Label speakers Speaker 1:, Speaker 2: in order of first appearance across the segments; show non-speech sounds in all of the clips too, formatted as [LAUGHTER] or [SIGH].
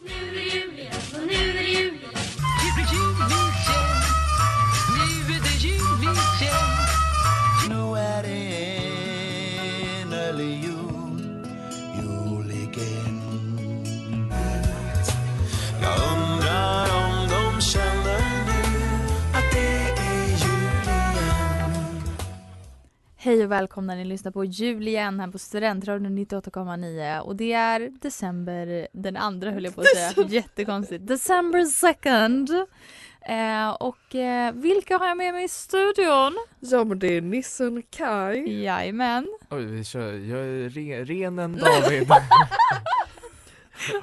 Speaker 1: Nu är det jul igen och nu är det jul igen.
Speaker 2: Nu är det enlig jul, jul igen Jag undrar om de känner nu att det är jul igen
Speaker 3: Hej och välkomna, ni lyssnar på jul igen här på Studentradion 98,9 och det är december den andra höll jag på att säga, jättekonstigt. December 2nd. Eh, och eh, vilka har jag med mig i studion?
Speaker 4: Ja men det är nissen Kai.
Speaker 3: Jajamän.
Speaker 5: Oj, vi kör. Jag är re, renen
Speaker 4: [LAUGHS]
Speaker 5: David.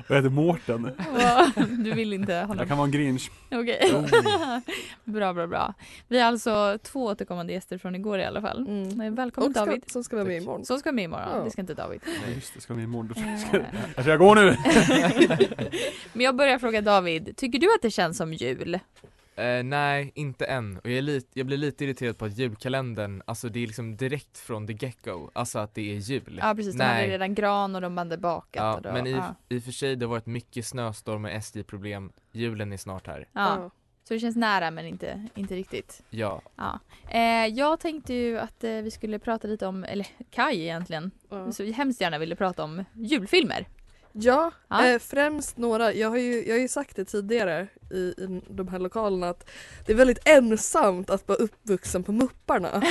Speaker 6: Jag heter Mårten.
Speaker 3: Va? Du vill inte hålla
Speaker 6: Jag
Speaker 4: [LAUGHS]
Speaker 6: kan vara en grinch.
Speaker 3: Okej. bra, bra, bra. Vi har alltså två återkommande gäster från igår i alla fall.
Speaker 4: Mm.
Speaker 3: Eh, Välkommen
Speaker 4: Och ska,
Speaker 3: David.
Speaker 4: som ska vara med
Speaker 5: Tack.
Speaker 4: imorgon.
Speaker 3: Så ska vi imorgon,
Speaker 4: Ja.
Speaker 3: det ska inte David.
Speaker 6: Nej just det, ska vi imorgon.
Speaker 3: Eh, [LAUGHS]
Speaker 6: Jag tror jag går nu!
Speaker 3: Men jag börjar fråga David, tycker du att det känns som jul?
Speaker 5: eh, nej, inte än. Och jag, är lite, jag blir lite irriterad på att julkalendern, alltså det är liksom direkt från the get-go, alltså att det är jul.
Speaker 3: Ja precis, de
Speaker 5: Nej.
Speaker 3: hade redan gran och de hade bakat.
Speaker 5: Ja,
Speaker 3: och då,
Speaker 5: men i,
Speaker 3: ja.
Speaker 5: i och för sig, det har varit mycket snöstormar, SJ-problem, julen är snart här.
Speaker 3: Ja. Så det känns nära men inte, inte riktigt.
Speaker 5: Ja,
Speaker 3: Ja. Eh, jag tänkte ju att eh, vi skulle prata lite om, eller Kai egentligen,
Speaker 4: Ja,
Speaker 3: så vi hemskt gärna ville prata om julfilmer.
Speaker 4: ja
Speaker 3: Ja.
Speaker 4: Eh, främst några, jag har, ju, jag har ju sagt det tidigare i, i de här lokalerna att det är väldigt ensamt att vara uppvuxen
Speaker 3: [LAUGHS]
Speaker 4: på mupparna.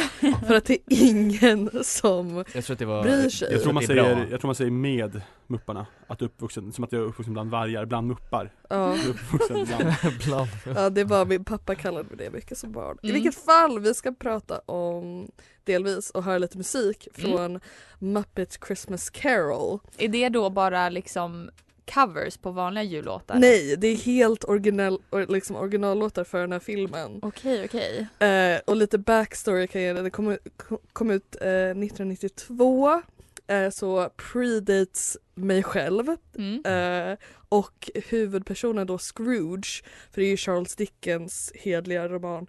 Speaker 4: för att det är ingen som
Speaker 5: jag tror att det var...
Speaker 4: Bryr sig.
Speaker 5: Jag
Speaker 6: Jag tror,
Speaker 5: tror
Speaker 6: man
Speaker 5: att det är
Speaker 6: säger,
Speaker 5: bra.
Speaker 6: jag tror man säger med mupparna, att uppvuxen, som att jag är uppvuxen bland vargar, bland muppar.
Speaker 4: ja,
Speaker 6: Jag är Uppvuxen bland.
Speaker 5: Bland.
Speaker 4: ja, det är bara min pappa kallade mig det mycket som barn. I
Speaker 3: Mm.
Speaker 4: vilket fall, vi ska prata om delvis och höra lite musik från Muppets Christmas Carol.
Speaker 3: Är det då bara liksom covers på vanliga jullåtar?
Speaker 4: Nej, det är helt original, or- liksom originallåtar för den här filmen.
Speaker 3: Okej okej.
Speaker 4: Eh, och lite backstory kan jag ge dig. Det kom, kom- kom ut eh, 1992 eh, så predates mig själv
Speaker 3: Mm.
Speaker 4: eh, och huvudpersonen då Scrooge, för det är ju Charles Dickens hedliga roman,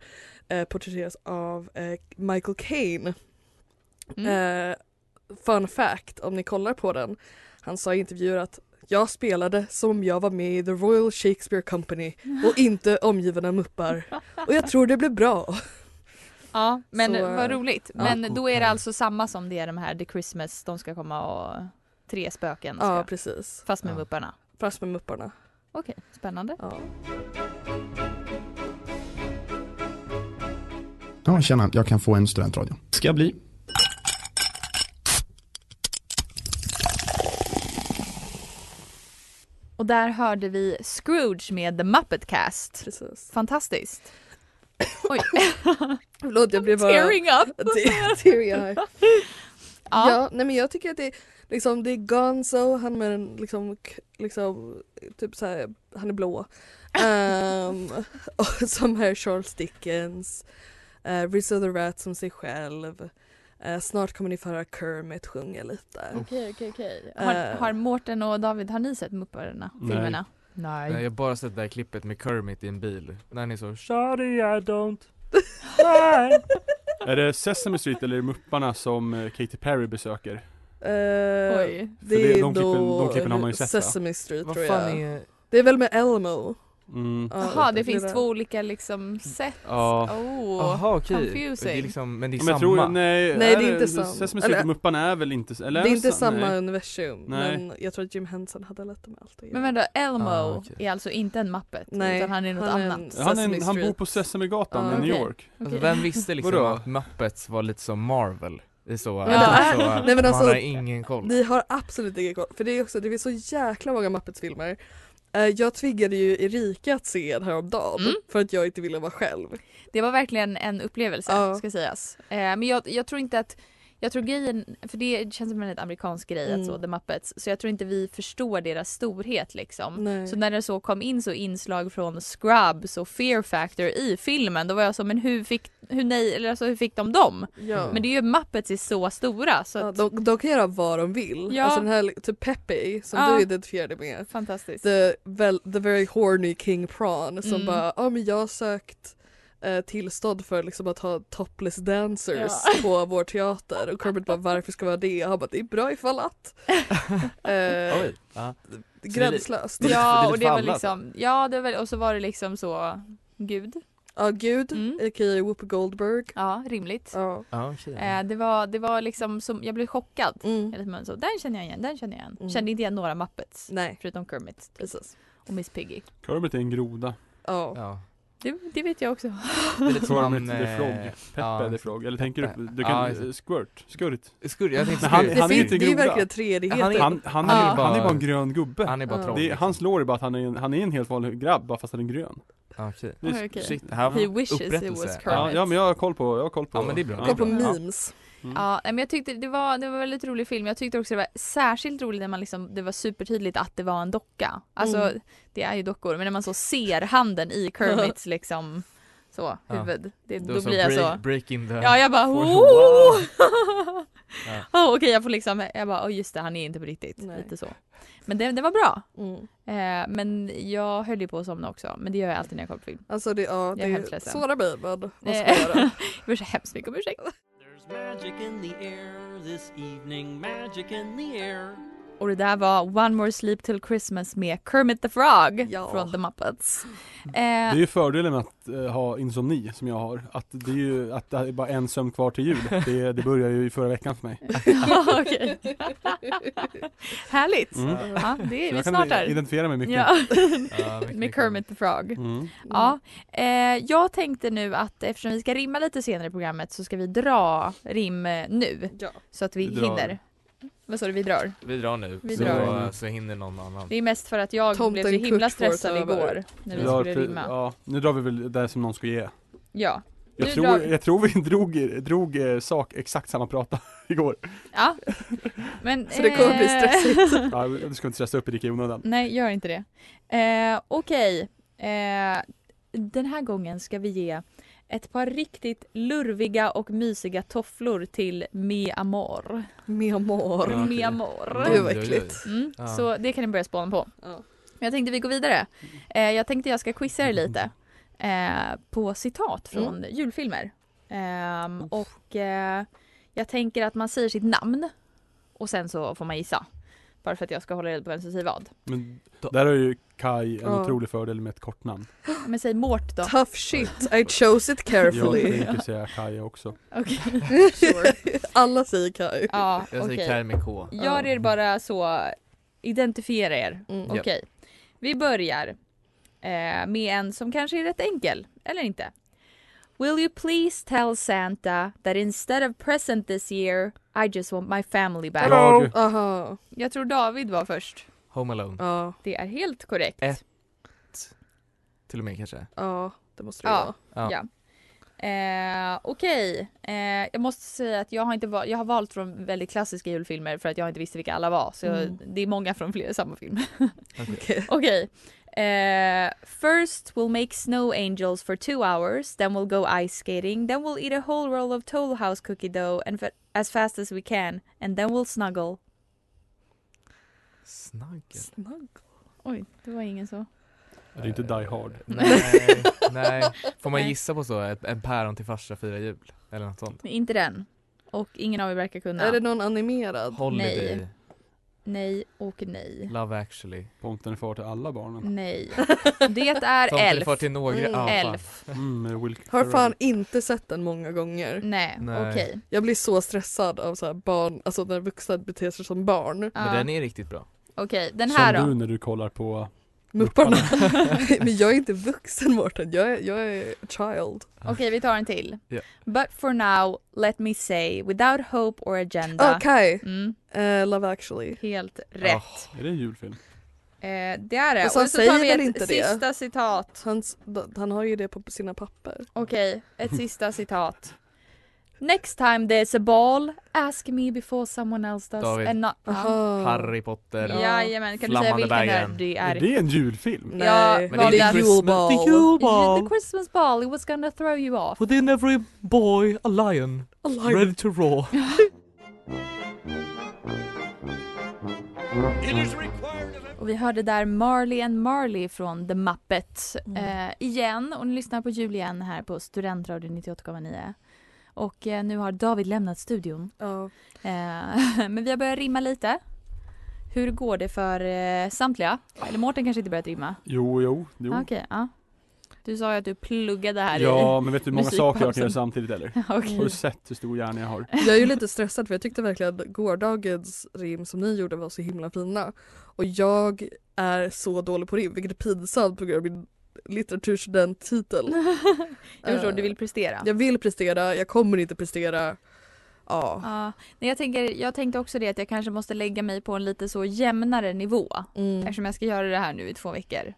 Speaker 4: eh, porträtteras av eh, Michael Caine.
Speaker 3: Mm.
Speaker 4: Eh, fun fact om ni kollar på den. Han sa i intervjuer att jag spelade som om jag var med i The Royal Shakespeare Company och inte omgiven av muppar. Och jag tror det blev bra.
Speaker 3: Ja men
Speaker 4: så,
Speaker 3: vad
Speaker 4: eh,
Speaker 3: roligt.
Speaker 4: ja.
Speaker 3: Men då är det alltså samma som det är de här The Christmas, de ska komma och tre spöken ska,
Speaker 4: Ja precis.
Speaker 3: fast med
Speaker 5: Ja.
Speaker 3: mupparna.
Speaker 4: Fast med mupparna.
Speaker 3: Okej, spännande.
Speaker 4: Ja.
Speaker 7: Ja, tjena, jag kan få en studentradio. Ska jag bli.
Speaker 3: Och där hörde vi Scrooge med The Muppet Cast.
Speaker 4: Precis.
Speaker 3: Fantastiskt. [COUGHS] Oj,
Speaker 4: Förlåt jag blev bara... [LAUGHS]
Speaker 3: tearing up.
Speaker 4: Te- teary eye.
Speaker 3: Ja.
Speaker 4: Ja, nej men jag tycker att det, liksom, det är Gonzo, han med en liksom, k- liksom typ så här, han
Speaker 3: [LAUGHS]
Speaker 4: är blå. Ehm, och som är Charles Dickens, uh, Rizzo the Rat som sig själv. Eh, snart kommer ni få höra Kermit sjunga lite.
Speaker 3: Okej, okej, okej. Har,
Speaker 4: Eh.
Speaker 3: har Mårten och David, har ni sett Mupparna?
Speaker 6: Nej.
Speaker 3: Filmerna? Nej.
Speaker 5: Nej, jag har bara sett det där klippet med Kermit i en bil, när ni så 'Sorry I don't'
Speaker 6: [LAUGHS] Är det Sesame Street eller är det mupparna som eh, Katy Perry besöker?
Speaker 4: Eh,
Speaker 3: Oj.
Speaker 6: För
Speaker 4: Det
Speaker 6: det-
Speaker 4: är
Speaker 6: de klippen-
Speaker 4: då
Speaker 6: de klippen har man ju sett, va?
Speaker 4: Sesame Street
Speaker 5: Vad
Speaker 4: tror
Speaker 5: fan
Speaker 4: jag.
Speaker 5: är...
Speaker 4: Det är väl med Elmo?
Speaker 6: Mm.
Speaker 3: Jaha, det finns
Speaker 4: Lilla-
Speaker 3: två olika liksom sätt.
Speaker 5: Ja.
Speaker 3: Oh.
Speaker 5: Jaha okej.
Speaker 3: confusing.
Speaker 5: Det är liksom, men det är
Speaker 6: Men
Speaker 5: samma.
Speaker 6: jag tror, nej,
Speaker 4: Nej, det är inte samma.
Speaker 6: Sesame
Speaker 4: Eller-
Speaker 6: Street och Mupparna är väl inte, eller?
Speaker 4: Det är inte
Speaker 6: sa-
Speaker 4: samma
Speaker 6: nej.
Speaker 4: universum
Speaker 6: Nej.
Speaker 4: men jag tror att Jim Henson hade lite med allt att göra.
Speaker 3: Men vänta, Elmo
Speaker 5: Ah, okej.
Speaker 3: är alltså inte en Muppet
Speaker 4: Nej,
Speaker 3: utan han är något
Speaker 4: han är en-
Speaker 3: annat.
Speaker 6: Han, är,
Speaker 4: Sesame
Speaker 6: en- han bor
Speaker 4: Street.
Speaker 6: på Sesamegatan
Speaker 4: Ja,
Speaker 6: i New
Speaker 3: okej.
Speaker 6: York.
Speaker 5: Alltså,
Speaker 3: Okej.
Speaker 5: vem visste liksom
Speaker 6: Vadå?
Speaker 5: att Muppets var lite som Marvel? Det är så,
Speaker 4: Ja.
Speaker 5: så
Speaker 4: Nej, men alltså,
Speaker 5: man har ingen koll.
Speaker 4: Ni har absolut ingen koll, för det är också, det finns så jäkla många Muppets-filmer. Eh, Jag tvingade ju Erika att se en häromdagen
Speaker 3: Mm.
Speaker 4: för att jag inte ville vara själv.
Speaker 3: Det var verkligen en upplevelse
Speaker 4: Ja.
Speaker 3: ska sägas. Eh, men jag, jag tror inte att jag tror grejen, för det känns som en väldigt amerikansk grej
Speaker 4: Mm.
Speaker 3: att så The Muppets, så jag tror inte vi förstår deras storhet liksom.
Speaker 4: Nej.
Speaker 3: Så när det så kom in så inslag från Scrubs och Fear Factor i filmen då var jag så men hur fick, hur, nej, eller alltså, hur fick de dem?
Speaker 4: ja.
Speaker 3: Men det är ju Muppets är så stora så
Speaker 4: ja,
Speaker 3: att,
Speaker 4: de, de kan göra vad de vill.
Speaker 3: Ja.
Speaker 4: Alltså den här typ Pepe som
Speaker 3: Ja.
Speaker 4: du identifierade med.
Speaker 3: fantastiskt.
Speaker 4: The, vel, the very horny King Prawn som
Speaker 3: Mm.
Speaker 4: bara, ja men jag har sökt eh, tillstånd för liksom att ha topless dancers
Speaker 3: Ja.
Speaker 4: på vår teater och Kermit bara varför ska vi ha det? Och han bara det är bra
Speaker 3: [LAUGHS]
Speaker 4: ifall att. eh,
Speaker 5: Oj. Ja.
Speaker 4: gränslöst.
Speaker 5: Det är lite- det är
Speaker 3: ja
Speaker 5: lite
Speaker 3: och det
Speaker 5: för
Speaker 3: var
Speaker 5: alla,
Speaker 3: liksom, ja det var, och så var det liksom så Gud,
Speaker 4: Ja gud,
Speaker 3: Mm.
Speaker 4: a.k.a. Whoopi Goldberg.
Speaker 3: ja rimligt.
Speaker 4: Ja.
Speaker 5: Ja, okej.
Speaker 3: Eh, det, var, det var liksom som, jag blev chockad.
Speaker 4: Mm.
Speaker 3: Eller men så, den känner jag igen, den känner jag igen.
Speaker 4: Mm.
Speaker 3: Kände inte igen några Muppets.
Speaker 4: Nej,
Speaker 3: Förutom Kermit typ,
Speaker 4: precis.
Speaker 3: och Miss Piggy.
Speaker 6: Kermit är en groda.
Speaker 4: Ja.
Speaker 5: Ja.
Speaker 3: Det, det vet jag också.
Speaker 5: Det är lite som
Speaker 6: Kermit
Speaker 5: han...
Speaker 6: the Frog.
Speaker 5: eh, ja.
Speaker 6: Peppe the Frog. Eller tänker du, du
Speaker 5: Ja,
Speaker 6: kan,
Speaker 5: just det.
Speaker 6: Squirt? Squirt?
Speaker 5: Skurr, jag tänkte
Speaker 6: Men han-
Speaker 5: skurr.
Speaker 4: Det,
Speaker 6: är
Speaker 4: finns,
Speaker 6: inte
Speaker 4: det är ju
Speaker 6: groda.
Speaker 4: verkligen tredigheter.
Speaker 5: Han är-
Speaker 6: Han, han,
Speaker 3: Ja.
Speaker 6: är, han är bara en grön gubbe.
Speaker 5: Han är bara
Speaker 4: Ja.
Speaker 5: troll.
Speaker 6: det är,
Speaker 5: liksom.
Speaker 6: hans lår är bara att han är, en, han är en helt vanlig grabb bara fast han är grön.
Speaker 5: Ja, okej.
Speaker 6: Det är-
Speaker 3: Oj, okej.
Speaker 5: Shit, här
Speaker 3: He
Speaker 5: var
Speaker 3: wishes he was
Speaker 5: upprättelse.
Speaker 3: Kermit.
Speaker 6: Ja, ja men jag har koll på, jag har koll på Mm.
Speaker 5: Ja, men det är bra.
Speaker 4: Kolla på
Speaker 5: Ja.
Speaker 4: memes.
Speaker 3: Ja, nej, men jag tyckte det var, det var en väldigt rolig film. Jag tyckte också det var särskilt roligt när man liksom, det var supertydligt att det var en docka. Alltså
Speaker 4: Mm.
Speaker 3: det är ju dockor, men när man så ser handen i [LAUGHS] Kermits liksom så
Speaker 5: Ja.
Speaker 3: huvud. Det,
Speaker 5: Det
Speaker 3: då
Speaker 5: var som
Speaker 3: blir jag så.
Speaker 5: break, breaking the...
Speaker 3: Ja jag bara
Speaker 5: Wow.
Speaker 3: oh! [LAUGHS]
Speaker 5: Ja.
Speaker 3: oh, Okej jag får liksom, jag bara oh, just det han är inte på riktigt.
Speaker 4: Nej.
Speaker 3: Lite så. Men det, det var bra.
Speaker 4: Mm.
Speaker 3: Eh, men jag höll ju på att somna också, men det gör jag alltid när jag kollar på film.
Speaker 4: Alltså det, ja, det
Speaker 3: är hemskt
Speaker 4: är
Speaker 3: ledsen.
Speaker 4: såra mig men vad ska jag
Speaker 3: Eh, [LAUGHS]
Speaker 4: göra?
Speaker 3: jag ber så hemskt mycket om ursäkt.
Speaker 2: There's magic in the air this evening, magic in the air.
Speaker 3: Och det där var One More Sleep Till Christmas med Kermit the Frog
Speaker 4: Ja. Mm.
Speaker 3: från The Muppets.
Speaker 6: Det är
Speaker 3: Eh,
Speaker 6: ju fördelen med att eh, ha insomni som jag har. Att det är ju att det är bara en sömn kvar till
Speaker 3: [LAUGHS]
Speaker 6: jul. Det, det börjar ju i förra veckan för mig.
Speaker 3: ja, okej. [LAUGHS] Härligt!
Speaker 6: Mm.
Speaker 3: Ja, det är vi
Speaker 6: Så jag
Speaker 3: snart
Speaker 6: kan
Speaker 3: där.
Speaker 6: identifiera mig [LAUGHS] mycket.
Speaker 3: Ja,
Speaker 5: Ja, mycket
Speaker 3: med Kermit the Frog.
Speaker 6: Mm.
Speaker 3: Ja, eh, jag tänkte nu att eftersom vi ska rimma lite senare i programmet så ska vi dra rim eh, nu
Speaker 4: Ja.
Speaker 3: så att vi,
Speaker 6: Vi drar.
Speaker 3: hinner. Vad sa du, vi drar?
Speaker 5: Vi drar nu,
Speaker 3: Vi
Speaker 5: så,
Speaker 6: drar.
Speaker 5: så hinner någon annan.
Speaker 3: Det är mest för att jag
Speaker 4: Tomten
Speaker 3: blev så himla
Speaker 4: Kurt får
Speaker 3: stressad
Speaker 4: ta över.
Speaker 3: igår när vi
Speaker 6: Vi drar
Speaker 3: skulle
Speaker 6: pre-
Speaker 3: rimma.
Speaker 6: ja, nu drar vi väl det som någon ska ge.
Speaker 3: Ja. Nu
Speaker 6: Jag tror,
Speaker 3: drar vi.
Speaker 6: jag tror vi drog, drog eh, sak exakt samma prata [LAUGHS] igår.
Speaker 3: ja. Men,
Speaker 4: [LAUGHS] Så det kommer bli
Speaker 3: eh,
Speaker 4: stressigt.
Speaker 6: Ja, du ska inte stressa upp Erika i onödan.
Speaker 3: [LAUGHS] Nej, gör inte det. Eh, Okej. Eh, den här gången ska vi ge ett par riktigt lurviga och mysiga tofflor till Mi Amor.
Speaker 4: Med amor.
Speaker 6: Ja, okej.
Speaker 3: Mi Amor.
Speaker 4: Gud vad
Speaker 5: Oj, oj, oj.
Speaker 4: äckligt.
Speaker 3: Mm,
Speaker 5: Ja.
Speaker 3: Så det kan ni börja spåna på.
Speaker 4: Ja.
Speaker 3: Men Jag tänkte vi går vidare. Eh, jag tänkte jag ska quizza er lite
Speaker 5: Mm.
Speaker 3: eh, på citat från julfilmer. Ehm, och eh, jag tänker att man säger sitt namn och sen så får man gissa. Bara för att jag ska hålla reda på vem som säger vad.
Speaker 6: Men där har ju Kai en
Speaker 4: Ja.
Speaker 6: otrolig fördel med ett kort namn.
Speaker 3: Men säg Mårt då.
Speaker 4: Tough shit, I chose it
Speaker 6: Jag
Speaker 4: carefully.
Speaker 6: tänker säga Kaja också.
Speaker 5: [LAUGHS]
Speaker 3: Okej.
Speaker 4: Alla säger Kaj.
Speaker 3: Ja,
Speaker 5: Jag säger
Speaker 3: okej.
Speaker 5: Kaj med K.
Speaker 3: Gör er bara så, identifiera er.
Speaker 4: Mm.
Speaker 3: Okej, vi börjar eh, med en som kanske är rätt enkel, eller inte. Will you please tell Santa that instead of present this year I just want my family back.
Speaker 6: Dag.
Speaker 4: Aha.
Speaker 3: Jag tror David var först.
Speaker 5: Home Alone.
Speaker 4: Ja,
Speaker 3: Det är helt korrekt.
Speaker 5: Ett. Till och med kanske.
Speaker 4: ja det måste det
Speaker 3: Ja.
Speaker 5: Ja.
Speaker 4: vara.
Speaker 3: Ja. Eh, Okej, eh, jag måste säga att jag har, inte val- jag har valt från väldigt klassiska julfilmer för att jag inte visste vilka alla var. Så
Speaker 4: Mm.
Speaker 3: det är många från flera samma film.
Speaker 4: [LAUGHS] Okej.
Speaker 3: Okej. Eh, first we'll make snow angels for two hours, then we'll go ice skating, then we'll eat a whole roll of Toll House cookie dough and fa- as fast as we can, and then we'll snuggle.
Speaker 5: Snagel.
Speaker 3: Oj, det var ingen så.
Speaker 6: Det är inte Die Hard.
Speaker 5: Nej,
Speaker 3: [LAUGHS]
Speaker 5: nej. Får man
Speaker 3: Nej.
Speaker 5: gissa på så? Ett, en päron till farsa firar jul? Eller något sånt?
Speaker 3: Inte den. Och ingen av er verkar kunna.
Speaker 4: Är det någon animerad?
Speaker 5: Holiday.
Speaker 3: Nej. nej och nej.
Speaker 5: Love actually.
Speaker 6: Tomten är far till alla
Speaker 3: [LAUGHS]
Speaker 6: barnen.
Speaker 3: Nej. Det är
Speaker 5: Tomten är far
Speaker 3: Elf.
Speaker 5: till några.
Speaker 4: Mm.
Speaker 5: Ja, fan.
Speaker 3: Elf.
Speaker 6: Mm, med Will
Speaker 4: Har
Speaker 6: Ferrell.
Speaker 4: fan inte sett den många gånger.
Speaker 3: Nej,
Speaker 5: Nej.
Speaker 3: okej.
Speaker 4: Jag blir så stressad av så här barn, alltså när vuxna beter sig som barn.
Speaker 3: Ja,
Speaker 5: Men den är riktigt bra.
Speaker 3: Okej, den här
Speaker 6: Som du
Speaker 3: då?
Speaker 6: när du kollar på
Speaker 4: Mupparna. [LAUGHS] Men jag är inte vuxen Mårten, jag är, jag är a child.
Speaker 3: Okej, vi tar en till.
Speaker 5: Ja.
Speaker 3: But for now, let me say, without hope or agenda.
Speaker 4: Okej,
Speaker 3: Mm,
Speaker 4: eh, Love actually.
Speaker 3: helt rätt.
Speaker 6: Är det en julfilm?
Speaker 3: Eh, det är det.
Speaker 4: Och så säger väl inte det?
Speaker 3: sista citat.
Speaker 4: Hans, han har ju det på sina papper.
Speaker 3: Okej,
Speaker 4: [LAUGHS]
Speaker 3: ett sista citat. Next time there's a ball, ask me before someone else does
Speaker 5: David.
Speaker 3: and not...
Speaker 4: Aha.
Speaker 5: Harry Potter.
Speaker 3: Ja. Jajamän, kan du säga
Speaker 5: Flammande
Speaker 3: vilken det är? Det
Speaker 5: bergen.
Speaker 6: Är
Speaker 3: är...
Speaker 6: det en julfilm?
Speaker 4: Nej,
Speaker 3: Ja, vad
Speaker 4: men det
Speaker 3: den-
Speaker 4: är Yule Ball.
Speaker 3: The Christmas ball, it was gonna throw you off.
Speaker 5: Within every boy a lion, ready to roar.
Speaker 3: Och vi hörde där Marley and Marley från The Muppet
Speaker 4: Mm.
Speaker 3: eh, igen. Och ni lyssnar på jul igen här på Studentradion 98,9. Och eh, nu har David lämnat studion.
Speaker 4: Ja.
Speaker 3: Eh, [LAUGHS] men vi har börjat rimma lite. Hur går det för eh, samtliga? Eller Mårten kanske inte börjat rimma? Ah,
Speaker 6: Jo, jo, jo.
Speaker 3: Okej, ja. Du sa ju att du pluggade här i...
Speaker 6: Ja, men vet du hur många saker jag kan göra
Speaker 3: musikbranschen.
Speaker 6: samtidigt eller?
Speaker 3: [LAUGHS] Okej.
Speaker 6: Har du sett hur stor hjärna jag har?
Speaker 4: Jag är ju lite stressad för jag tyckte verkligen att gårdagens rim som ni gjorde var så himla fina. Och jag är så dålig på rim vilket är pinsamt på grund av min litteraturstudent-titel.
Speaker 3: Jag förstår, du vill prestera.
Speaker 4: Jag vill prestera, jag kommer inte prestera. Ja.
Speaker 3: Ja, nej, jag, tänker, jag tänkte också det att jag kanske måste lägga mig på en lite så jämnare nivå
Speaker 4: Mm.
Speaker 3: eftersom jag ska göra det här nu i två veckor.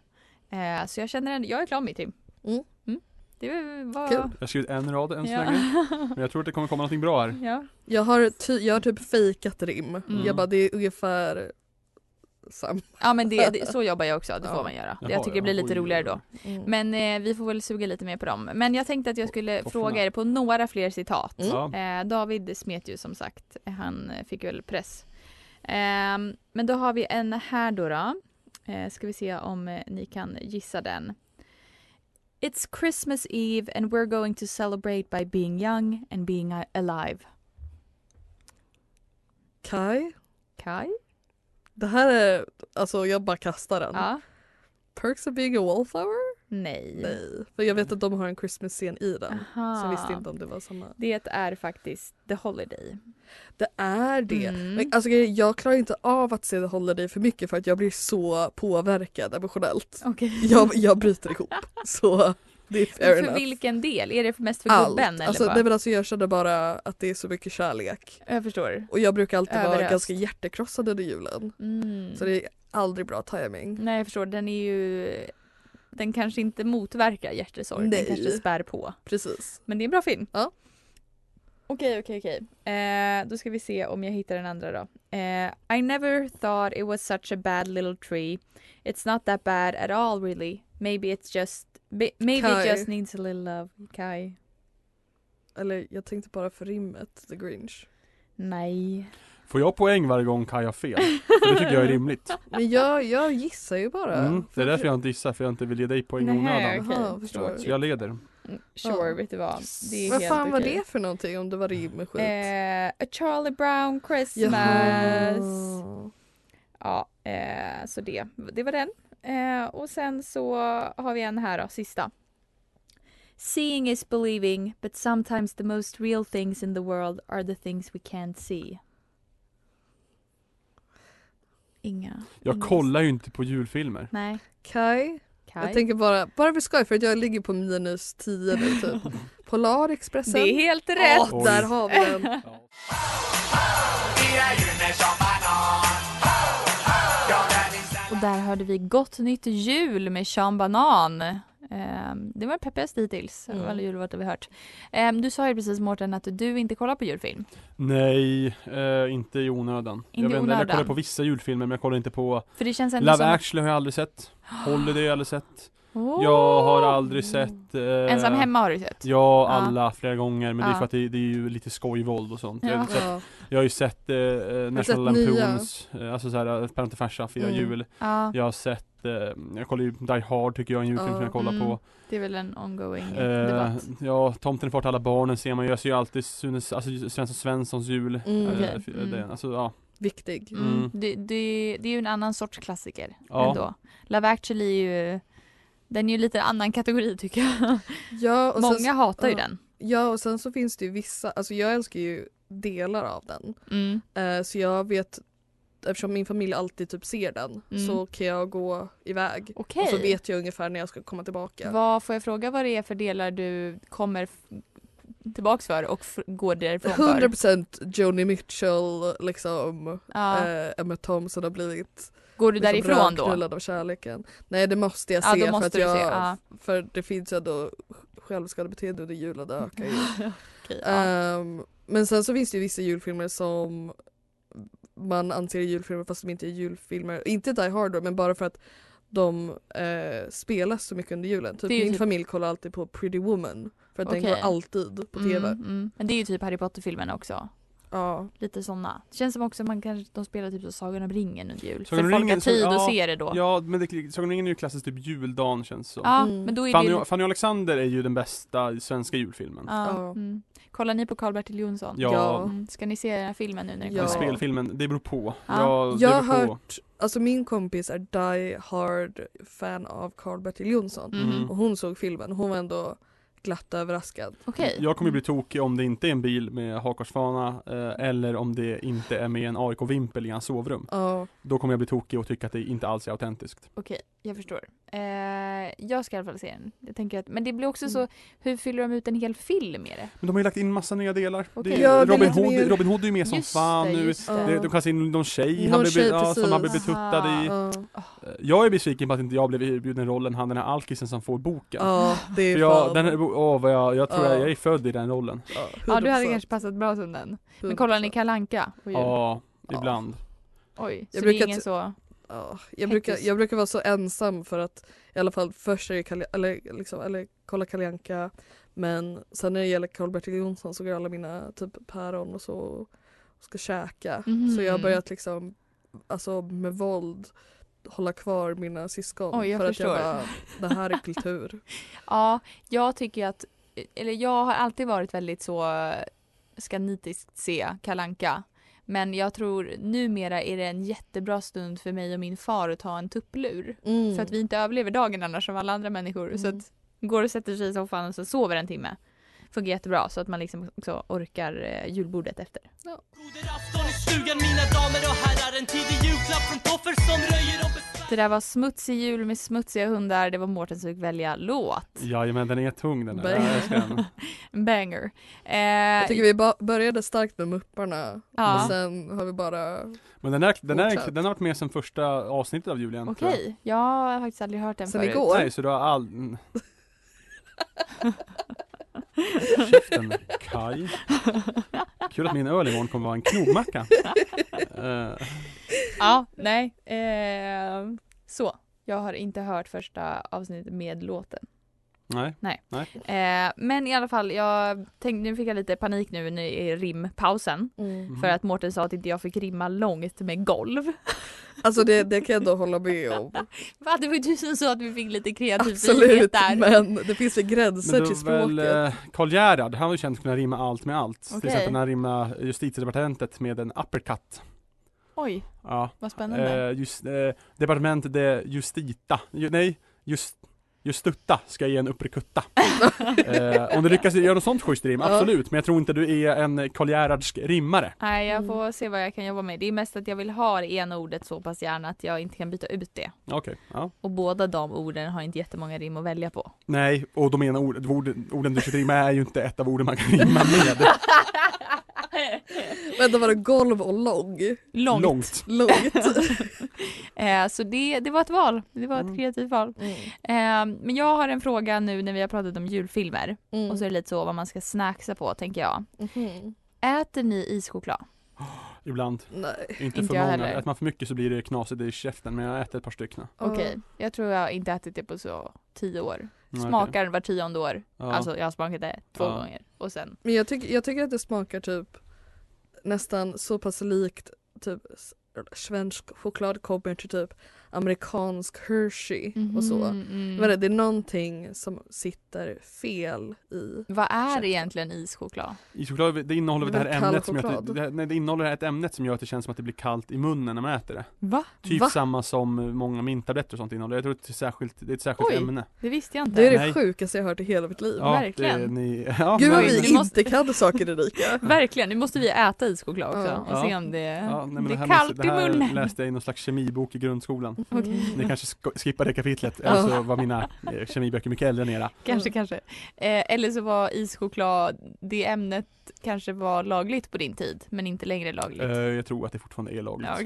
Speaker 3: Eh, så jag känner att jag är klar med mitt rim.
Speaker 4: Mm.
Speaker 3: Det var...
Speaker 4: Kul.
Speaker 6: Jag har skrivit en rad än så
Speaker 3: Ja.
Speaker 6: länge. Men jag tror att det kommer komma någonting bra här.
Speaker 3: [LAUGHS] Ja.
Speaker 4: Jag, har ty- jag har typ fejkat rim.
Speaker 3: Mm.
Speaker 4: Jag bara det är ungefär samma.
Speaker 3: ja, men det, det, så jobbar jag också. Det
Speaker 4: Ja.
Speaker 3: får man göra.
Speaker 6: Jaha,
Speaker 3: jag tycker det blir
Speaker 6: ja.
Speaker 3: lite
Speaker 6: Oj,
Speaker 3: roligare
Speaker 6: oj,
Speaker 3: då.
Speaker 4: Mm.
Speaker 3: Men eh, vi får väl suga lite mer på dem. Men jag tänkte att jag skulle
Speaker 6: Tofforna.
Speaker 3: fråga er på några fler citat.
Speaker 4: Mm.
Speaker 6: Ja.
Speaker 3: Eh, David smet ju som sagt. Han eh, fick väl press. Ehm, men då har vi en här då. då. Eh, ska vi se om eh, ni kan gissa den. It's Christmas Eve and we're going to celebrate by being young and being a- alive.
Speaker 4: Kai?
Speaker 3: Kai?
Speaker 4: Det här är, alltså jag bara kastar den.
Speaker 3: Ja.
Speaker 4: Perks of being a wallflower?
Speaker 3: Nej.
Speaker 4: Nej. För jag vet att de har en Christmas-scen i den.
Speaker 3: Aha.
Speaker 4: Så jag visste inte om det var samma.
Speaker 3: Det är faktiskt The Holiday.
Speaker 4: Det är det.
Speaker 3: Mm.
Speaker 4: Men, alltså, grejen är, jag klarar inte av att se det håller dig för mycket för att jag blir så påverkad emotionellt.
Speaker 3: Okej.
Speaker 4: [LAUGHS] Jag, jag bryter ihop. Så det är fair
Speaker 3: För
Speaker 4: enough.
Speaker 3: vilken del? Är det mest för
Speaker 4: Allt.
Speaker 3: gubben? Eller
Speaker 4: Alltså,
Speaker 3: vad?
Speaker 4: nej, men alltså, jag känner bara att det är så mycket kärlek.
Speaker 3: Jag förstår.
Speaker 4: Och jag brukar alltid vara
Speaker 3: Överöst.
Speaker 4: ganska hjärtekrossad under julen.
Speaker 3: Mm.
Speaker 4: Så det är aldrig bra timing.
Speaker 3: Nej jag förstår, den är ju Den kanske inte motverkar hjärtesorg,
Speaker 4: Nej.
Speaker 3: den kanske spär på.
Speaker 4: Precis.
Speaker 3: Men det är en bra film.
Speaker 4: Ja.
Speaker 3: Okej, okej, okej. Eh, då ska vi se om jag hittar den andra då. Eh, I never thought it was such a bad little tree. It's not that bad at all really. Maybe it's just ba- Maybe
Speaker 4: Kai.
Speaker 3: it just needs a little love. Kai.
Speaker 4: Eller jag tänkte bara för rimmet, The Grinch.
Speaker 3: Nej.
Speaker 6: Får jag poäng varje gång Kaj har fel? För det tycker jag
Speaker 3: [LAUGHS]
Speaker 6: är rimligt.
Speaker 4: Men jag, jag gissar ju bara.
Speaker 6: Mm. Det är därför jag inte gissar, för jag inte vill ge dig poäng i
Speaker 3: Nej,
Speaker 6: onödan.
Speaker 3: okej.
Speaker 4: Jaha, förstår.
Speaker 6: Så jag leder.
Speaker 3: Mm, Sure,
Speaker 4: Ja.
Speaker 3: vet du vad. Det är
Speaker 4: Vad
Speaker 3: helt
Speaker 4: fan var
Speaker 3: okej.
Speaker 4: det för någonting om det var rim och skit?
Speaker 3: Eh, a Charlie Brown Christmas.
Speaker 4: Jaha.
Speaker 3: Ja, eh, så det, det var den. Eh, och sen så har vi en här då, sista. Seeing is believing, but sometimes the most real things in the world are the things we can't see. Inga.
Speaker 6: Jag
Speaker 3: inga-
Speaker 6: kollar ju inte på julfilmer.
Speaker 3: Nej.
Speaker 4: Kai? Jag
Speaker 3: Kaj.
Speaker 4: tänker bara, bara för skoj för att jag ligger på minus 10 nu
Speaker 3: [LAUGHS]
Speaker 4: typ. Polarexpressen.
Speaker 3: Det är helt rätt!
Speaker 4: Alltså, Åh, där har vi
Speaker 3: [LAUGHS]
Speaker 4: den.
Speaker 3: Och där hörde vi Gott Nytt Jul med Sean Banan. Ehm, det var peppigast hittills av
Speaker 4: Mm.
Speaker 3: alla jullåtar vi hört. Ehm, du sa ju precis Mårten att du inte kollar på julfilm.
Speaker 6: Nej, eh, inte i onödan.
Speaker 3: i
Speaker 6: jag, vet, inte, jag
Speaker 3: onödan. liksom-
Speaker 6: kollar på vissa julfilmer men jag kollar inte på
Speaker 3: För det känns ändå
Speaker 6: Love
Speaker 3: som...
Speaker 6: actually har jag aldrig sett.
Speaker 3: [GASPS]
Speaker 6: Holiday har jag aldrig sett.
Speaker 3: Åh!
Speaker 6: Jag har aldrig sett... Eh,
Speaker 3: Ensam hemma har du sett?
Speaker 6: Ja, alla flera gånger. Men det är
Speaker 3: Ja.
Speaker 6: för att det, det är ju lite skojvåld och sånt. Jag, har
Speaker 3: Ja.
Speaker 6: inte sett,
Speaker 4: Ja.
Speaker 6: jag har ju sett eh, eh, National
Speaker 4: sett nya?
Speaker 6: Lampoons, eh, alltså såhär Päron till farsa, Fira
Speaker 4: Mm.
Speaker 6: jul.
Speaker 3: Ja,
Speaker 6: Jag har sett, eh, jag kollar ju Die Hard tycker jag är en julfilm
Speaker 4: Ja.
Speaker 6: som jag kollar
Speaker 3: Mm.
Speaker 6: på.
Speaker 3: det är väl en ongoing eh,
Speaker 6: Eh,
Speaker 3: debatt.
Speaker 6: ja, Tomten är far till alla barnen ser man ju. Jag ser ju alltid Sunes, alltså Svensson Svenssons jul.
Speaker 4: Mm.
Speaker 6: Eh,
Speaker 3: Okej.
Speaker 6: f-
Speaker 3: Mm.
Speaker 6: den, alltså, ja.
Speaker 4: viktig.
Speaker 6: Mm. Mm.
Speaker 3: Det, det, det är ju en annan sorts klassiker
Speaker 6: Ja.
Speaker 3: ändå. Love actually är ju, den är ju lite en annan kategori tycker jag.
Speaker 4: Ja, och
Speaker 3: Många
Speaker 4: sen,
Speaker 3: hatar ju
Speaker 4: ja.
Speaker 3: den.
Speaker 4: ja och sen så finns det ju vissa, alltså jag älskar ju delar av den.
Speaker 3: Mm.
Speaker 4: Eh, så jag vet, eftersom min familj alltid typ ser den
Speaker 3: Mm.
Speaker 4: så kan jag gå iväg.
Speaker 3: Okej,
Speaker 4: Och så vet jag ungefär när jag ska komma tillbaka.
Speaker 3: vad, får jag fråga vad det är för delar du kommer f- tillbaks för och f- går därifrån för?
Speaker 4: 100% Joni Mitchell liksom,
Speaker 3: Ja.
Speaker 4: eh, Emma Thompson har blivit
Speaker 3: Går du
Speaker 4: liksom
Speaker 3: därifrån då?
Speaker 4: rödknullad av kärleken. Nej det måste jag
Speaker 3: Ja,
Speaker 4: se
Speaker 3: då
Speaker 4: för
Speaker 3: måste
Speaker 4: att
Speaker 3: du
Speaker 4: jag,
Speaker 3: se, ja.
Speaker 4: för det finns ju ändå självskadebeteende under jul och det ökar ju.
Speaker 3: Okej, ja.
Speaker 4: Ehm, men sen så finns det ju vissa julfilmer som man anser är julfilmer fast de inte är julfilmer. Inte Die Hard då, men bara för att de eh, spelas så mycket under julen. Typ
Speaker 3: Det är ju
Speaker 4: min
Speaker 3: typ-
Speaker 4: familj kollar alltid på Pretty Woman för att den går
Speaker 3: Okej.
Speaker 4: alltid på tv.
Speaker 3: Mm, mm. Men det är ju typ Harry Potter-filmerna också.
Speaker 4: Ja.
Speaker 3: Lite sådana. Det känns som också man kanske, de spelar typ så Sagan om ringen under jul.
Speaker 6: Sagan
Speaker 3: för
Speaker 6: om
Speaker 3: folk har
Speaker 6: ringen, så-
Speaker 3: tid
Speaker 6: ja,
Speaker 3: att se det då. Ja,
Speaker 6: Ja, men det, Sagan om ringen är ju klassiskt typ juldagen känns det som.
Speaker 4: Mm.
Speaker 3: men då är det
Speaker 6: Fanny,
Speaker 3: ju...
Speaker 6: och- Fanny och Alexander är ju den bästa svenska julfilmen.
Speaker 3: Ja.
Speaker 4: Ja.
Speaker 3: Mm. Kollar ni på Karl-Bertil Jonsson?
Speaker 6: Ja.
Speaker 4: Ja.
Speaker 3: Mm. Ska ni se den här filmen nu när den
Speaker 4: Ja.
Speaker 6: Men
Speaker 3: kommer?
Speaker 6: spelfilmen, det beror på.
Speaker 3: Ja.
Speaker 6: Ja, det
Speaker 4: Jag har
Speaker 6: beror på.
Speaker 4: hört, alltså min kompis är Die Hard fan av Karl-Bertil Jonsson.
Speaker 6: Mm.
Speaker 3: Mhm.
Speaker 4: Och hon såg filmen, hon var ändå glatt överraskad.
Speaker 3: Okej.
Speaker 6: Jag kommer bli tokig om det inte är en bil med hakkorsfana eh, eller om det inte är med en AIK-vimpel i hans sovrum.
Speaker 4: Ja.
Speaker 6: Då kommer jag bli tokig och tycka att det inte alls är autentiskt.
Speaker 3: Mm. Okej, jag förstår. Eh, jag ska i alla fall se den. Jag tänker att, men det blir också så, hur fyller de ut en hel film i det?
Speaker 6: Men de har ju lagt in massa nya delar.
Speaker 3: Okej.
Speaker 6: Det är,
Speaker 4: Ja, det är
Speaker 6: Robin,
Speaker 4: lite
Speaker 6: Hood,
Speaker 4: mer-
Speaker 6: Robin Hood är ju med som fan nu.
Speaker 3: just det.
Speaker 6: Det, de kastar in någon tjej,
Speaker 4: Någon
Speaker 6: han blev,
Speaker 4: tjej,
Speaker 6: ja, som
Speaker 4: precis.
Speaker 6: han blev betuttad i.
Speaker 4: Ja.
Speaker 6: Eh, Jag är besviken på att inte jag blev erbjuden rollen, han den här alkisen som får boken.
Speaker 4: Ja, det är
Speaker 6: För jag,
Speaker 4: fan.
Speaker 6: den, här- åh, vad jag, jag tror
Speaker 4: Ja.
Speaker 6: jag, jag är född i den rollen.
Speaker 4: ja,
Speaker 3: Ja, du hade
Speaker 4: 100%.
Speaker 3: kanske passat bra som den. Men kollar ni Kalle Anka på jul?
Speaker 6: Ja, ibland.
Speaker 3: Oj, så
Speaker 4: Jag
Speaker 3: det är
Speaker 4: brukar
Speaker 3: ingen
Speaker 4: t-
Speaker 3: så...
Speaker 4: Ja, jag, brukar,
Speaker 3: Hektisk.
Speaker 4: jag brukar vara så ensam för att i alla fall först är det Kalle, eller, liksom, eller kolla Kalle Anka men sen när det gäller Karl-Bertil Jonsson så går alla mina typ päron och så och ska käka.
Speaker 3: Mhm.
Speaker 4: Så jag har börjat liksom alltså med våld hålla kvar mina syskon
Speaker 3: Oj, jag
Speaker 4: för
Speaker 3: förstår.
Speaker 4: att jag bara, det här är kultur.
Speaker 3: [LAUGHS] Ja, jag tycker att, eller jag har alltid varit väldigt så, eh, ska nitiskt se Kalle Anka. Men jag tror numera är det en jättebra stund för mig och min far att ta en tupplur.
Speaker 4: Mm.
Speaker 3: För att vi inte överlever dagen annars som alla andra människor. Så
Speaker 4: Mm.
Speaker 3: att går och sätter sig i soffan och så sover en timme. Funkar jättebra så att man liksom också orkar eh, julbordet efter.
Speaker 2: Broderafton i stugan mina damer och herrar En tidig julklapp från Toffer som röjer och besvär
Speaker 3: Det där var Smutsig jul med smutsiga hundar. Det var Mårtens fick välja låt.
Speaker 6: Jajamän, den är tung den.
Speaker 4: Bang.
Speaker 6: Där. Jag älskar den.
Speaker 3: Banger. Eh,
Speaker 4: Mm. Jag tycker vi ba- började starkt med Mupparna
Speaker 3: Ja.
Speaker 4: och sen har vi bara
Speaker 6: Men den, är, den, är,
Speaker 4: Fortsätt.
Speaker 6: den har varit med sedan första avsnittet av Julian. tror
Speaker 3: Okej, jag har faktiskt aldrig hört den
Speaker 4: sen
Speaker 3: förut.
Speaker 6: jag.
Speaker 4: igår.
Speaker 6: Nej, så du har all... mm. Käften, Kaj. Kul att min öl imorgon kommer vara en knogmacka. Eh,
Speaker 3: Ja, nej. Eh, så. Jag har inte hört första avsnittet med låten.
Speaker 6: nej.
Speaker 3: Eh, men i alla fall, jag tänkte, nu fick jag lite panik nu när- i rimpausen.
Speaker 4: Mm.
Speaker 6: Mhm.
Speaker 3: För att Mårten sa att inte jag fick rimma långt med golv. [LAUGHS]
Speaker 4: Alltså det, det kan jag ändå hålla med om.
Speaker 3: Va, det var ju du som sa att vi fick lite kreativ frihet
Speaker 4: Absolut,
Speaker 3: där.
Speaker 4: men det finns ju
Speaker 6: Men
Speaker 4: gränser
Speaker 6: det
Speaker 4: till
Speaker 6: var väl
Speaker 4: språket.
Speaker 6: eh, Karl Gerhard, han var ju känd för att kunna rimma allt med allt. Till
Speaker 3: Okej.
Speaker 6: exempel när han rimmade justitiedepartementet med en uppercut.
Speaker 3: Oj,
Speaker 6: Ja.
Speaker 3: vad spännande.
Speaker 6: Eh, just, eh, departementet det justita, ju, nej, just Justutta ska jag ge
Speaker 3: [LAUGHS]
Speaker 6: en upperkutta. eh, om du lyckas göra något sånt schysst rim,
Speaker 4: Ja.
Speaker 6: absolut. Men jag tror inte du är en Karl Gerhardsk rimmare.
Speaker 3: Nej, jag får se vad jag kan jobba med. Det är mest att jag vill ha det ena ordet så pass gärna att jag inte kan byta ut det.
Speaker 6: Okej, ja.
Speaker 3: Och båda de orden har inte jättemånga rim att välja på.
Speaker 6: Nej, och de ena ord, orden, orden du ska rimma är ju inte ett av orden man kan rimma med.
Speaker 3: [LAUGHS]
Speaker 4: Vänta var det golv och lång?
Speaker 3: Långt. [LAUGHS]
Speaker 6: Långt.
Speaker 4: Långt.
Speaker 3: Eh, så det, det var ett val. Det var ett
Speaker 6: Mm.
Speaker 3: kreativt val. Eh, men jag har en fråga nu när vi har pratat om julfilmer.
Speaker 4: Mm.
Speaker 3: Och så är det lite så vad man ska snacksa på tänker jag.
Speaker 4: Mhm.
Speaker 3: Äter ni ischoklad?
Speaker 6: Ibland.
Speaker 4: Nej.
Speaker 6: Inte,
Speaker 3: Inte
Speaker 6: för
Speaker 3: jag
Speaker 6: många.
Speaker 3: heller.
Speaker 6: Äter man för mycket så blir det knasigt i käften, men jag äter ett par stycken.
Speaker 3: Okej,
Speaker 4: Ja.
Speaker 3: jag tror jag inte ätit det på så tio år.
Speaker 6: Mm, okej.
Speaker 3: Smakar var tionde år.
Speaker 6: Ja.
Speaker 3: Alltså jag har smakat det två
Speaker 6: Ja.
Speaker 3: gånger. Och sen,
Speaker 4: Men jag, tycker- jag tycker att det smakar typ nästan så pass likt typ s- svensk choklad kommer till typ amerikansk Hershey och så.
Speaker 3: Mhm, mm.
Speaker 4: Men det är någonting som sitter fel i
Speaker 3: Vad är
Speaker 4: Ursäkta.
Speaker 3: egentligen ischoklad?
Speaker 6: Ischoklad, det innehåller väl
Speaker 4: Det
Speaker 6: det
Speaker 4: är
Speaker 6: här
Speaker 4: väl
Speaker 6: ämnet som gör att det,
Speaker 4: kall
Speaker 6: det, nej, det innehåller det här ett ämnet som gör att det känns som att det blir kallt i munnen när man äter det.
Speaker 3: Va?
Speaker 6: Typ
Speaker 4: Va?
Speaker 6: samma som många mintabletter och sånt innehåller. Jag tror att det är, särskilt, det är ett särskilt
Speaker 3: Oj.
Speaker 6: ämne.
Speaker 3: Det visste jag inte.
Speaker 4: Det är det
Speaker 6: Nej.
Speaker 4: sjukaste jag hört i hela mitt liv.
Speaker 6: Ja, Det, är
Speaker 3: verkligen.
Speaker 6: ni, [LAUGHS] ja,
Speaker 4: Gud vad
Speaker 6: men-
Speaker 4: vi
Speaker 3: Ni måste-
Speaker 4: inte kan saker
Speaker 3: [LAUGHS]
Speaker 4: Erika.
Speaker 3: Verkligen, nu måste vi äta ischoklad också
Speaker 4: Ja.
Speaker 3: och se
Speaker 6: Ja.
Speaker 3: om det,
Speaker 6: Ja, nej, men
Speaker 3: det
Speaker 6: här
Speaker 3: är
Speaker 6: måste-
Speaker 3: kallt
Speaker 6: det här Mm.
Speaker 3: i munnen. Mm.
Speaker 6: läste jag i någon slags kemibok i grundskolan.
Speaker 3: Okej.
Speaker 6: Ni kanske sk- skippar det kapitlet,
Speaker 4: Ja.
Speaker 6: eller så var mina eh, kemiböcker mycket äldre
Speaker 3: [LAUGHS]
Speaker 6: än era.
Speaker 3: Kanske,
Speaker 4: Mm.
Speaker 3: kanske. Eh, eller så var ischoklad, det ämnet kanske var lagligt på din tid men inte längre lagligt.
Speaker 6: Eh, jag tror att det fortfarande är lagligt.
Speaker 3: ja,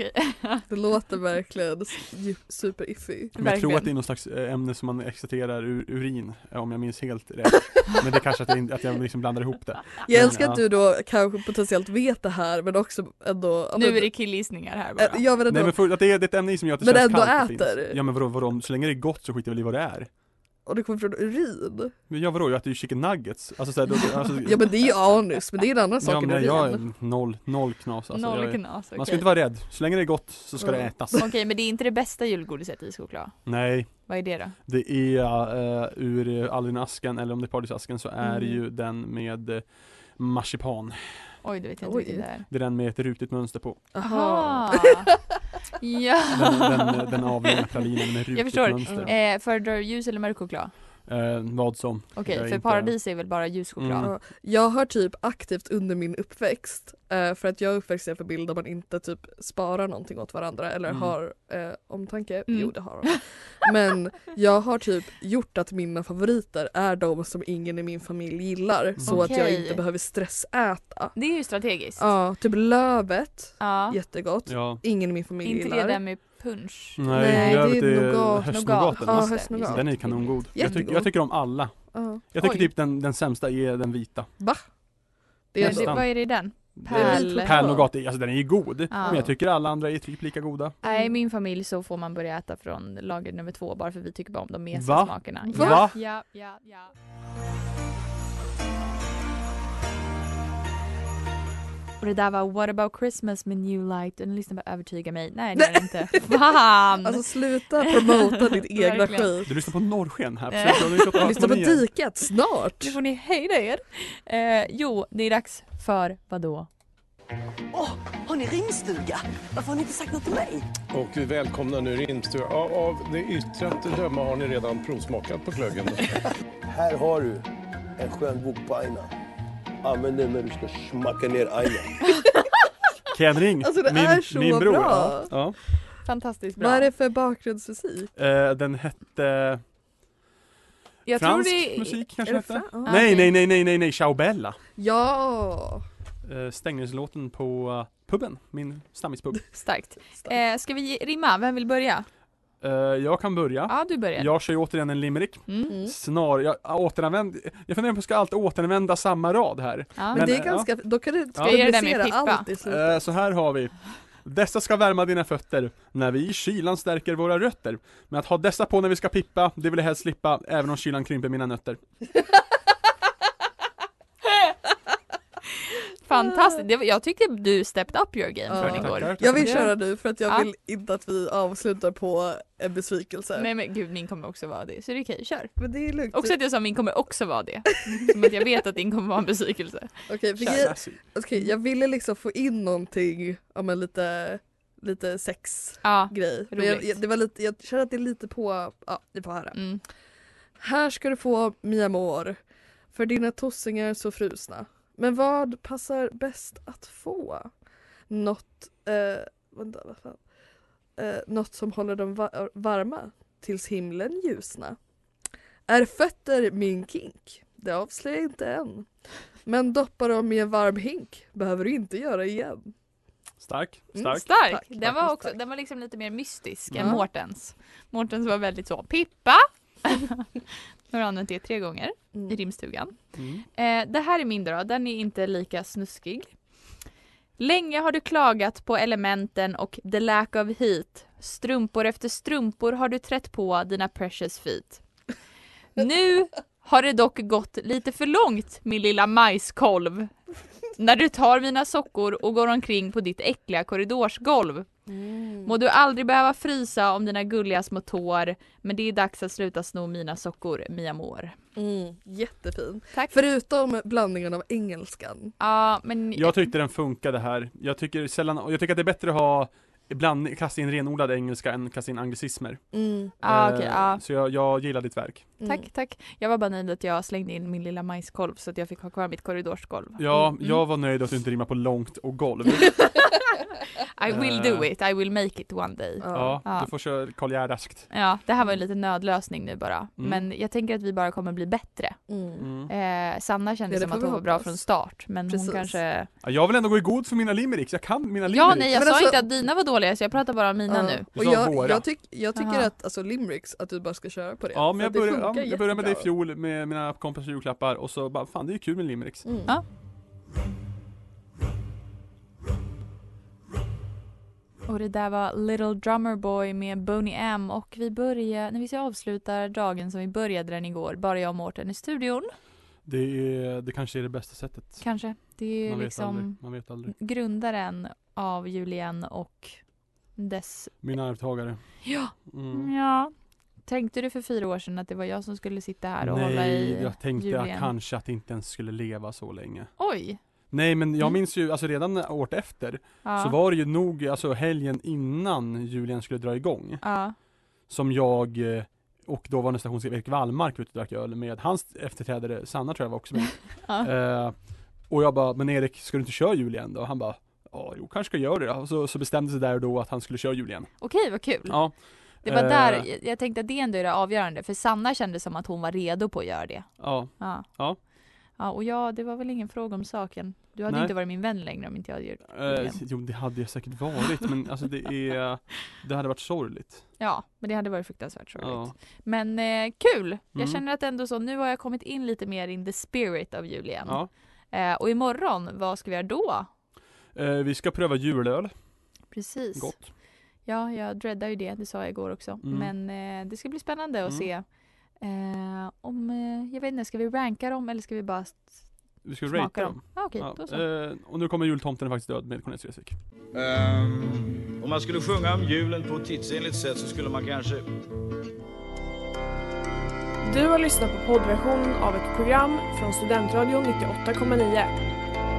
Speaker 3: okej.
Speaker 4: [LAUGHS] Det låter verkligen djup- super-iffy.
Speaker 6: Men jag tror
Speaker 3: Verkligen.
Speaker 6: att det är någon slags eh, ämne som man extraherar ur urin, eh, om jag minns helt rätt. Men det är kanske att, det, att jag liksom blandar ihop det.
Speaker 4: Jag
Speaker 6: Men,
Speaker 4: älskar att
Speaker 6: ja.
Speaker 4: du då kanske potentiellt vet det här men också ändå... ja,
Speaker 3: Nu
Speaker 4: men-
Speaker 3: är det killgissningar här
Speaker 6: Eh,
Speaker 3: bara.
Speaker 4: Ä- Jag vet ändå,
Speaker 6: Nej men för, att det, är, det är ett ämne som gör att det
Speaker 4: Men
Speaker 6: känns
Speaker 4: ändå
Speaker 6: kallt och
Speaker 4: äter.
Speaker 6: fint. Ja men vadå, vadå, så länge det är gott så skiter jag väl i vad det är.
Speaker 4: och det kommer från urin.
Speaker 6: Men ja vadå, jag äter ju chicken nuggets. Alltså, så här, då, alltså,
Speaker 4: Ja men det är ju anus men det är en annan
Speaker 6: ja,
Speaker 4: sak än
Speaker 6: men
Speaker 4: urin.
Speaker 6: jag är noll, noll knas. Alltså,
Speaker 3: Noll
Speaker 6: jag, är-
Speaker 3: knas, okej.
Speaker 6: man ska inte vara rädd, så länge det är gott så ska det
Speaker 4: Mm.
Speaker 6: ätas.
Speaker 3: Okej, men det är inte det bästa julgodiset ischoklad.
Speaker 6: Nej,
Speaker 3: Vad är det då?
Speaker 6: Det är eh, ur eh, Aladdin-asken eller om det är Paradisasken så är
Speaker 3: Mm.
Speaker 6: ju den med eh, marsipan.
Speaker 3: Oj, det vet jag
Speaker 4: Oj.
Speaker 3: inte riktigt det är.
Speaker 6: Det är den med ett rutigt mönster på.
Speaker 4: [LAUGHS] Aha.
Speaker 3: ja. [LAUGHS]
Speaker 6: Den, den, den avlånga pralinen med rutigt
Speaker 3: förstår.
Speaker 6: mönster.
Speaker 3: Eh, föredrar du ljus eller mörk choklad?
Speaker 6: Eh, vad som.
Speaker 3: Okej,
Speaker 6: Jag är
Speaker 3: för
Speaker 6: inte-
Speaker 3: paradis är väl bara ljus choklad?
Speaker 6: Mm.
Speaker 4: Ja, Jag har typ aktivt under min uppväxt, eh, för att jag är uppväxt i en familj där man inte typ sparar någonting åt varandra eller
Speaker 6: Mm.
Speaker 4: har eh, omtanke.
Speaker 3: Mm.
Speaker 4: Jo det har de. Men jag har typ gjort att mina favoriter är de som ingen i min familj gillar så att jag
Speaker 3: Okej.
Speaker 4: inte behöver stressäta.
Speaker 3: Det är ju strategiskt.
Speaker 4: Ja, typ lövet,
Speaker 3: Ja.
Speaker 4: jättegott.
Speaker 6: Ja.
Speaker 4: Ingen i min familj
Speaker 3: Inte det
Speaker 4: gillar.
Speaker 3: där med punch?
Speaker 6: Nej,
Speaker 4: Nej,
Speaker 6: lövet
Speaker 4: det är
Speaker 6: är
Speaker 4: nougat-
Speaker 6: höstnogaten.
Speaker 4: nougat.
Speaker 6: va?
Speaker 4: Ja, höstnougat.
Speaker 6: Den är ju kanongod. Jag, tyck,
Speaker 4: Jättegod.
Speaker 6: jag tycker om alla.
Speaker 4: Ja.
Speaker 6: Jag tycker
Speaker 3: Oj.
Speaker 6: typ den, den sämsta är den vita.
Speaker 4: Det är
Speaker 3: Men det,
Speaker 6: sant.
Speaker 3: vad är det i den?
Speaker 4: Pärl-
Speaker 3: Pärl...
Speaker 6: Pärlnougat, är- alltså den är ju god.
Speaker 3: Ja.
Speaker 6: Men jag tycker alla andra är typ lika goda.
Speaker 3: Nej, i min familj så får man börja äta från lager nummer två bara för vi tycker bara om de mesiga
Speaker 6: Va?
Speaker 3: smakerna.
Speaker 6: Va?
Speaker 3: Ja, ja, ja, ja. Och det där var What about Christmas med New Light och ni lyssnar på Övertyga mig. Nej det är det inte. [LAUGHS] Fan!
Speaker 4: Alltså sluta
Speaker 3: [LAUGHS]
Speaker 4: promota ditt egna
Speaker 3: Verkligen.
Speaker 4: skit.
Speaker 6: Du lyssnar på Norrsken här.
Speaker 3: Nej.
Speaker 6: precis.
Speaker 3: [LAUGHS]
Speaker 6: Du har
Speaker 4: Lyssna
Speaker 6: lyssnat
Speaker 4: på
Speaker 6: på
Speaker 4: diket snart.
Speaker 3: nu får ni hejda er. Eh, jo, det är dags för vadå?
Speaker 8: Och vi välkomnar nu Rimstur. Av, av det yttre att döma har ni redan provsmakat på glöggen.
Speaker 9: Här har du en skön bok på aina. Använd den när du ska smacka ner aina.
Speaker 6: Ken Ring,
Speaker 4: Alltså, det
Speaker 6: min,
Speaker 4: är så
Speaker 6: min bror.
Speaker 4: bra.
Speaker 6: Ja. Ja.
Speaker 3: Fantastiskt bra.
Speaker 4: Vad är det för bakgrundsmusik?
Speaker 6: Eh, den hette
Speaker 3: Jag tror
Speaker 6: fransk
Speaker 3: det är...
Speaker 6: musik
Speaker 4: Är
Speaker 6: kanske
Speaker 4: det
Speaker 6: hette?
Speaker 4: fram? Ja.
Speaker 6: Nej,
Speaker 3: Okej.
Speaker 6: nej, nej, nej, nej, nej, Ciao Bella.
Speaker 4: Ja!
Speaker 6: Eh, stängningslåten på eh, puben, min stammispub.
Speaker 3: Starkt. Eh, ska vi ge- rimma? Vem vill börja?
Speaker 6: Eh, jag kan
Speaker 3: Ja,
Speaker 6: börja.
Speaker 3: du börjar.
Speaker 6: Jag kör ju återigen en limerick.
Speaker 3: Mm.
Speaker 4: Mm.
Speaker 6: Snar, jag återanvänd, jag funderar på, ska jag alltid återanvända samma rad här?
Speaker 3: Ja.
Speaker 4: Men,
Speaker 6: Men,
Speaker 4: det är
Speaker 6: eh,
Speaker 4: ganska, då kan du
Speaker 6: Ska jag
Speaker 3: göra det med
Speaker 4: komplicera
Speaker 3: pippa?
Speaker 4: allt i slutet.
Speaker 6: Eh, så här har vi. Dessa ska värma dina fötter, när vi i kylan stärker våra rötter. Men att ha dessa på när vi ska pippa, det vill jag helst slippa, även om kylan krymper mina nötter.
Speaker 3: [LAUGHS] Fantastiskt. Det var, jag tyckte du stepped up your game
Speaker 4: Ja.
Speaker 3: från igår.
Speaker 6: Tackar.
Speaker 4: Jag vill
Speaker 6: Ja.
Speaker 4: köra nu för att jag
Speaker 3: Ja.
Speaker 4: vill inte att vi avslutar på en besvikelse.
Speaker 3: Nej men gud min kommer också vara det, så det är okej, kör.
Speaker 4: Men det är lugnt.
Speaker 3: Också att jag sa min kommer också vara det. Som att jag vet att din kommer vara en besvikelse.
Speaker 4: Okej, för
Speaker 3: Kör.
Speaker 4: jag, okej, jag ville liksom få in någonting om en lite, lite sexgrej.
Speaker 3: Ja.
Speaker 4: Men jag,
Speaker 3: Roligt.
Speaker 4: jag, det var lite, jag känner att det är lite på, ja ni får höra.
Speaker 3: Mm.
Speaker 4: Här ska du få mi amor, för dina tossingar så frusna. Men vad passar bäst att få? Något, eh, vänta, vad fan? Eh, något som håller dem va- varma tills himlen ljusna. Är fötter min kink? Det avslöjar jag inte än. Men doppa dem i en varm hink behöver du inte göra igen.
Speaker 6: Stark,
Speaker 4: Mm,
Speaker 6: stark.
Speaker 3: Stark!
Speaker 4: Tack,
Speaker 3: den,
Speaker 4: tack,
Speaker 3: var
Speaker 4: tack.
Speaker 3: också, den var liksom lite mer mystisk
Speaker 4: Ja.
Speaker 3: än Mårtens. Mårtens var väldigt så,
Speaker 4: [LAUGHS]
Speaker 3: Pippa! Nu har jag använt det tre gånger i
Speaker 4: Mm.
Speaker 3: rimstugan.
Speaker 6: Mm.
Speaker 3: Eh, det här är min då, den är inte lika snuskig. Länge har du klagat på elementen och the lack of heat. Strumpor efter strumpor har du trätt på dina precious feet. Nu har det dock gått lite för långt min lilla majskolv. När du tar mina sockor och går omkring på ditt äckliga korridorsgolv.
Speaker 4: Mm.
Speaker 3: Må du aldrig behöva frysa om dina gulliga små tår. Men det är dags att sluta sno mina sockor, Mia Moore.
Speaker 4: Mm, jättefin. Förutom blandningen av engelskan.
Speaker 3: Ja, men...
Speaker 6: Jag tyckte den funkade här. Jag tycker sällan, och jag tycker att det är bättre att ha ibland kasta in renodlad engelska än kasta in anglicismer.
Speaker 3: Mm. Ah, okej,
Speaker 6: Eh,
Speaker 3: ah.
Speaker 6: Så jag, jag gillar ditt verk.
Speaker 4: Mm.
Speaker 3: Tack, tack. Jag var bara nöjd att jag slängde in min lilla majskolv så att jag fick ha kvar mitt korridorsgolv.
Speaker 6: Ja,
Speaker 3: Mm.
Speaker 6: jag var nöjd att du inte rimmar på långt och golv.
Speaker 3: I will
Speaker 6: Eh.
Speaker 3: do it, I will make it one day.
Speaker 6: ja,
Speaker 3: [LAUGHS] ja.
Speaker 6: du får köra Karl Gerhardaskt.
Speaker 3: Ja, det här var en liten nödlösning nu bara.
Speaker 6: Mm.
Speaker 3: Men jag tänker att vi bara kommer bli bättre.
Speaker 6: Mm.
Speaker 3: Eh, Sanna kände
Speaker 4: Ja, det
Speaker 3: som
Speaker 4: får
Speaker 3: att
Speaker 4: vi
Speaker 3: hon var bra
Speaker 4: hoppas.
Speaker 3: från start, men
Speaker 4: Precis.
Speaker 3: hon kanske...
Speaker 6: Ja, Jag vill ändå gå i god för mina limericks, jag kan mina limericks.
Speaker 3: Ja, nej, jag
Speaker 4: Men
Speaker 3: sa
Speaker 4: alltså-
Speaker 3: inte att dina var dåliga, så jag pratar bara om mina
Speaker 4: Ja.
Speaker 3: nu.
Speaker 6: Du
Speaker 4: Och
Speaker 6: sa
Speaker 4: jag,
Speaker 6: våra.
Speaker 4: jag, tyck, jag tycker
Speaker 3: Jaha.
Speaker 4: att alltså, Limericks, att du bara ska köra på det.
Speaker 6: Ja, men
Speaker 4: För
Speaker 6: jag
Speaker 4: att det
Speaker 6: började,
Speaker 4: funkar
Speaker 6: ja, jag började med det i
Speaker 4: jättebra.
Speaker 6: fjol med mina kompisars julklappar och så bara, fan det är ju kul med limericks.
Speaker 4: Mm.
Speaker 3: Ja. Och det där var Little Drummer Boy med Boney M och vi börjar, när vi avslutar dagen som vi började den igår, bara jag och Mårten i studion.
Speaker 6: Det, är, det kanske är det bästa sättet.
Speaker 3: Kanske. Det är ju
Speaker 6: Man vet aldrig,
Speaker 3: liksom
Speaker 6: man vet aldrig.
Speaker 3: grundaren av Julien och dess...
Speaker 6: Min arvtagare.
Speaker 3: Ja.
Speaker 6: Mm.
Speaker 3: ja. Tänkte du för fyra år sedan att det var jag som skulle sitta här och hålla
Speaker 6: Nej,
Speaker 3: i
Speaker 6: jag tänkte
Speaker 3: Julien?
Speaker 6: att kanske att det inte ens skulle leva så länge.
Speaker 3: Oj!
Speaker 6: Nej men jag minns ju, alltså redan året efter
Speaker 3: Mm. Ja.
Speaker 6: så var det ju nog, alltså helgen innan julen skulle dra igång
Speaker 3: Ja.
Speaker 6: som jag eh, och dåvarande stationschef Erik Wallmark ute och drack öl med hans efterträdare Sanna tror jag var också med.
Speaker 3: Ja.
Speaker 6: Eh, och jag bara, men Erik ska du inte köra jul igen då? Han bara, ja jo kanske ska jag göra det. Och så, så bestämde sig där och då att han skulle köra jul igen.
Speaker 3: Okej, vad kul.
Speaker 6: Ja.
Speaker 3: Det var
Speaker 6: Eh,
Speaker 3: där, jag- jag tänkte att det ändå är det avgörande, för Sanna kände som att hon var redo på att göra det.
Speaker 6: Ja.
Speaker 3: Ja.
Speaker 6: Ja.
Speaker 3: Ja, och jag, det var väl ingen fråga om saken. Du hade
Speaker 6: Nej.
Speaker 3: inte varit min vän längre om inte jag hade gjort
Speaker 6: Eh,
Speaker 3: det.
Speaker 6: jo det hade jag säkert varit men alltså det
Speaker 3: [LAUGHS]
Speaker 6: är, det hade varit sorgligt.
Speaker 3: Ja, men det hade varit fruktansvärt sorgligt.
Speaker 6: Ja.
Speaker 3: Men eh, kul! Jag
Speaker 6: Mm.
Speaker 3: känner att ändå så, nu har jag kommit in lite mer in the spirit av jul igen.
Speaker 6: Ja.
Speaker 3: Eh, och imorgon, vad ska vi göra då?
Speaker 6: Eh, vi ska pröva julöl.
Speaker 3: Precis.
Speaker 6: Gott.
Speaker 3: Ja, jag dreadar ju det, det sa jag igår också.
Speaker 6: Mm.
Speaker 3: Men eh, det ska bli spännande att
Speaker 6: Mm.
Speaker 3: se eh, om, eh, jag vet inte, ska vi ranka dem eller ska vi bara s-
Speaker 6: Vi ska
Speaker 3: smaka
Speaker 6: ratea dem.
Speaker 3: Ah, Okej,
Speaker 6: Ja,
Speaker 3: då så.
Speaker 6: eh, och nu kommer jultomten är faktiskt död med Cornelis Vreeswijk.
Speaker 2: Ehm, om man skulle sjunga om julen på ett tidsenligt sätt så skulle man kanske...
Speaker 10: Du har lyssnat på poddversionen av ett program från Studentradion 98,9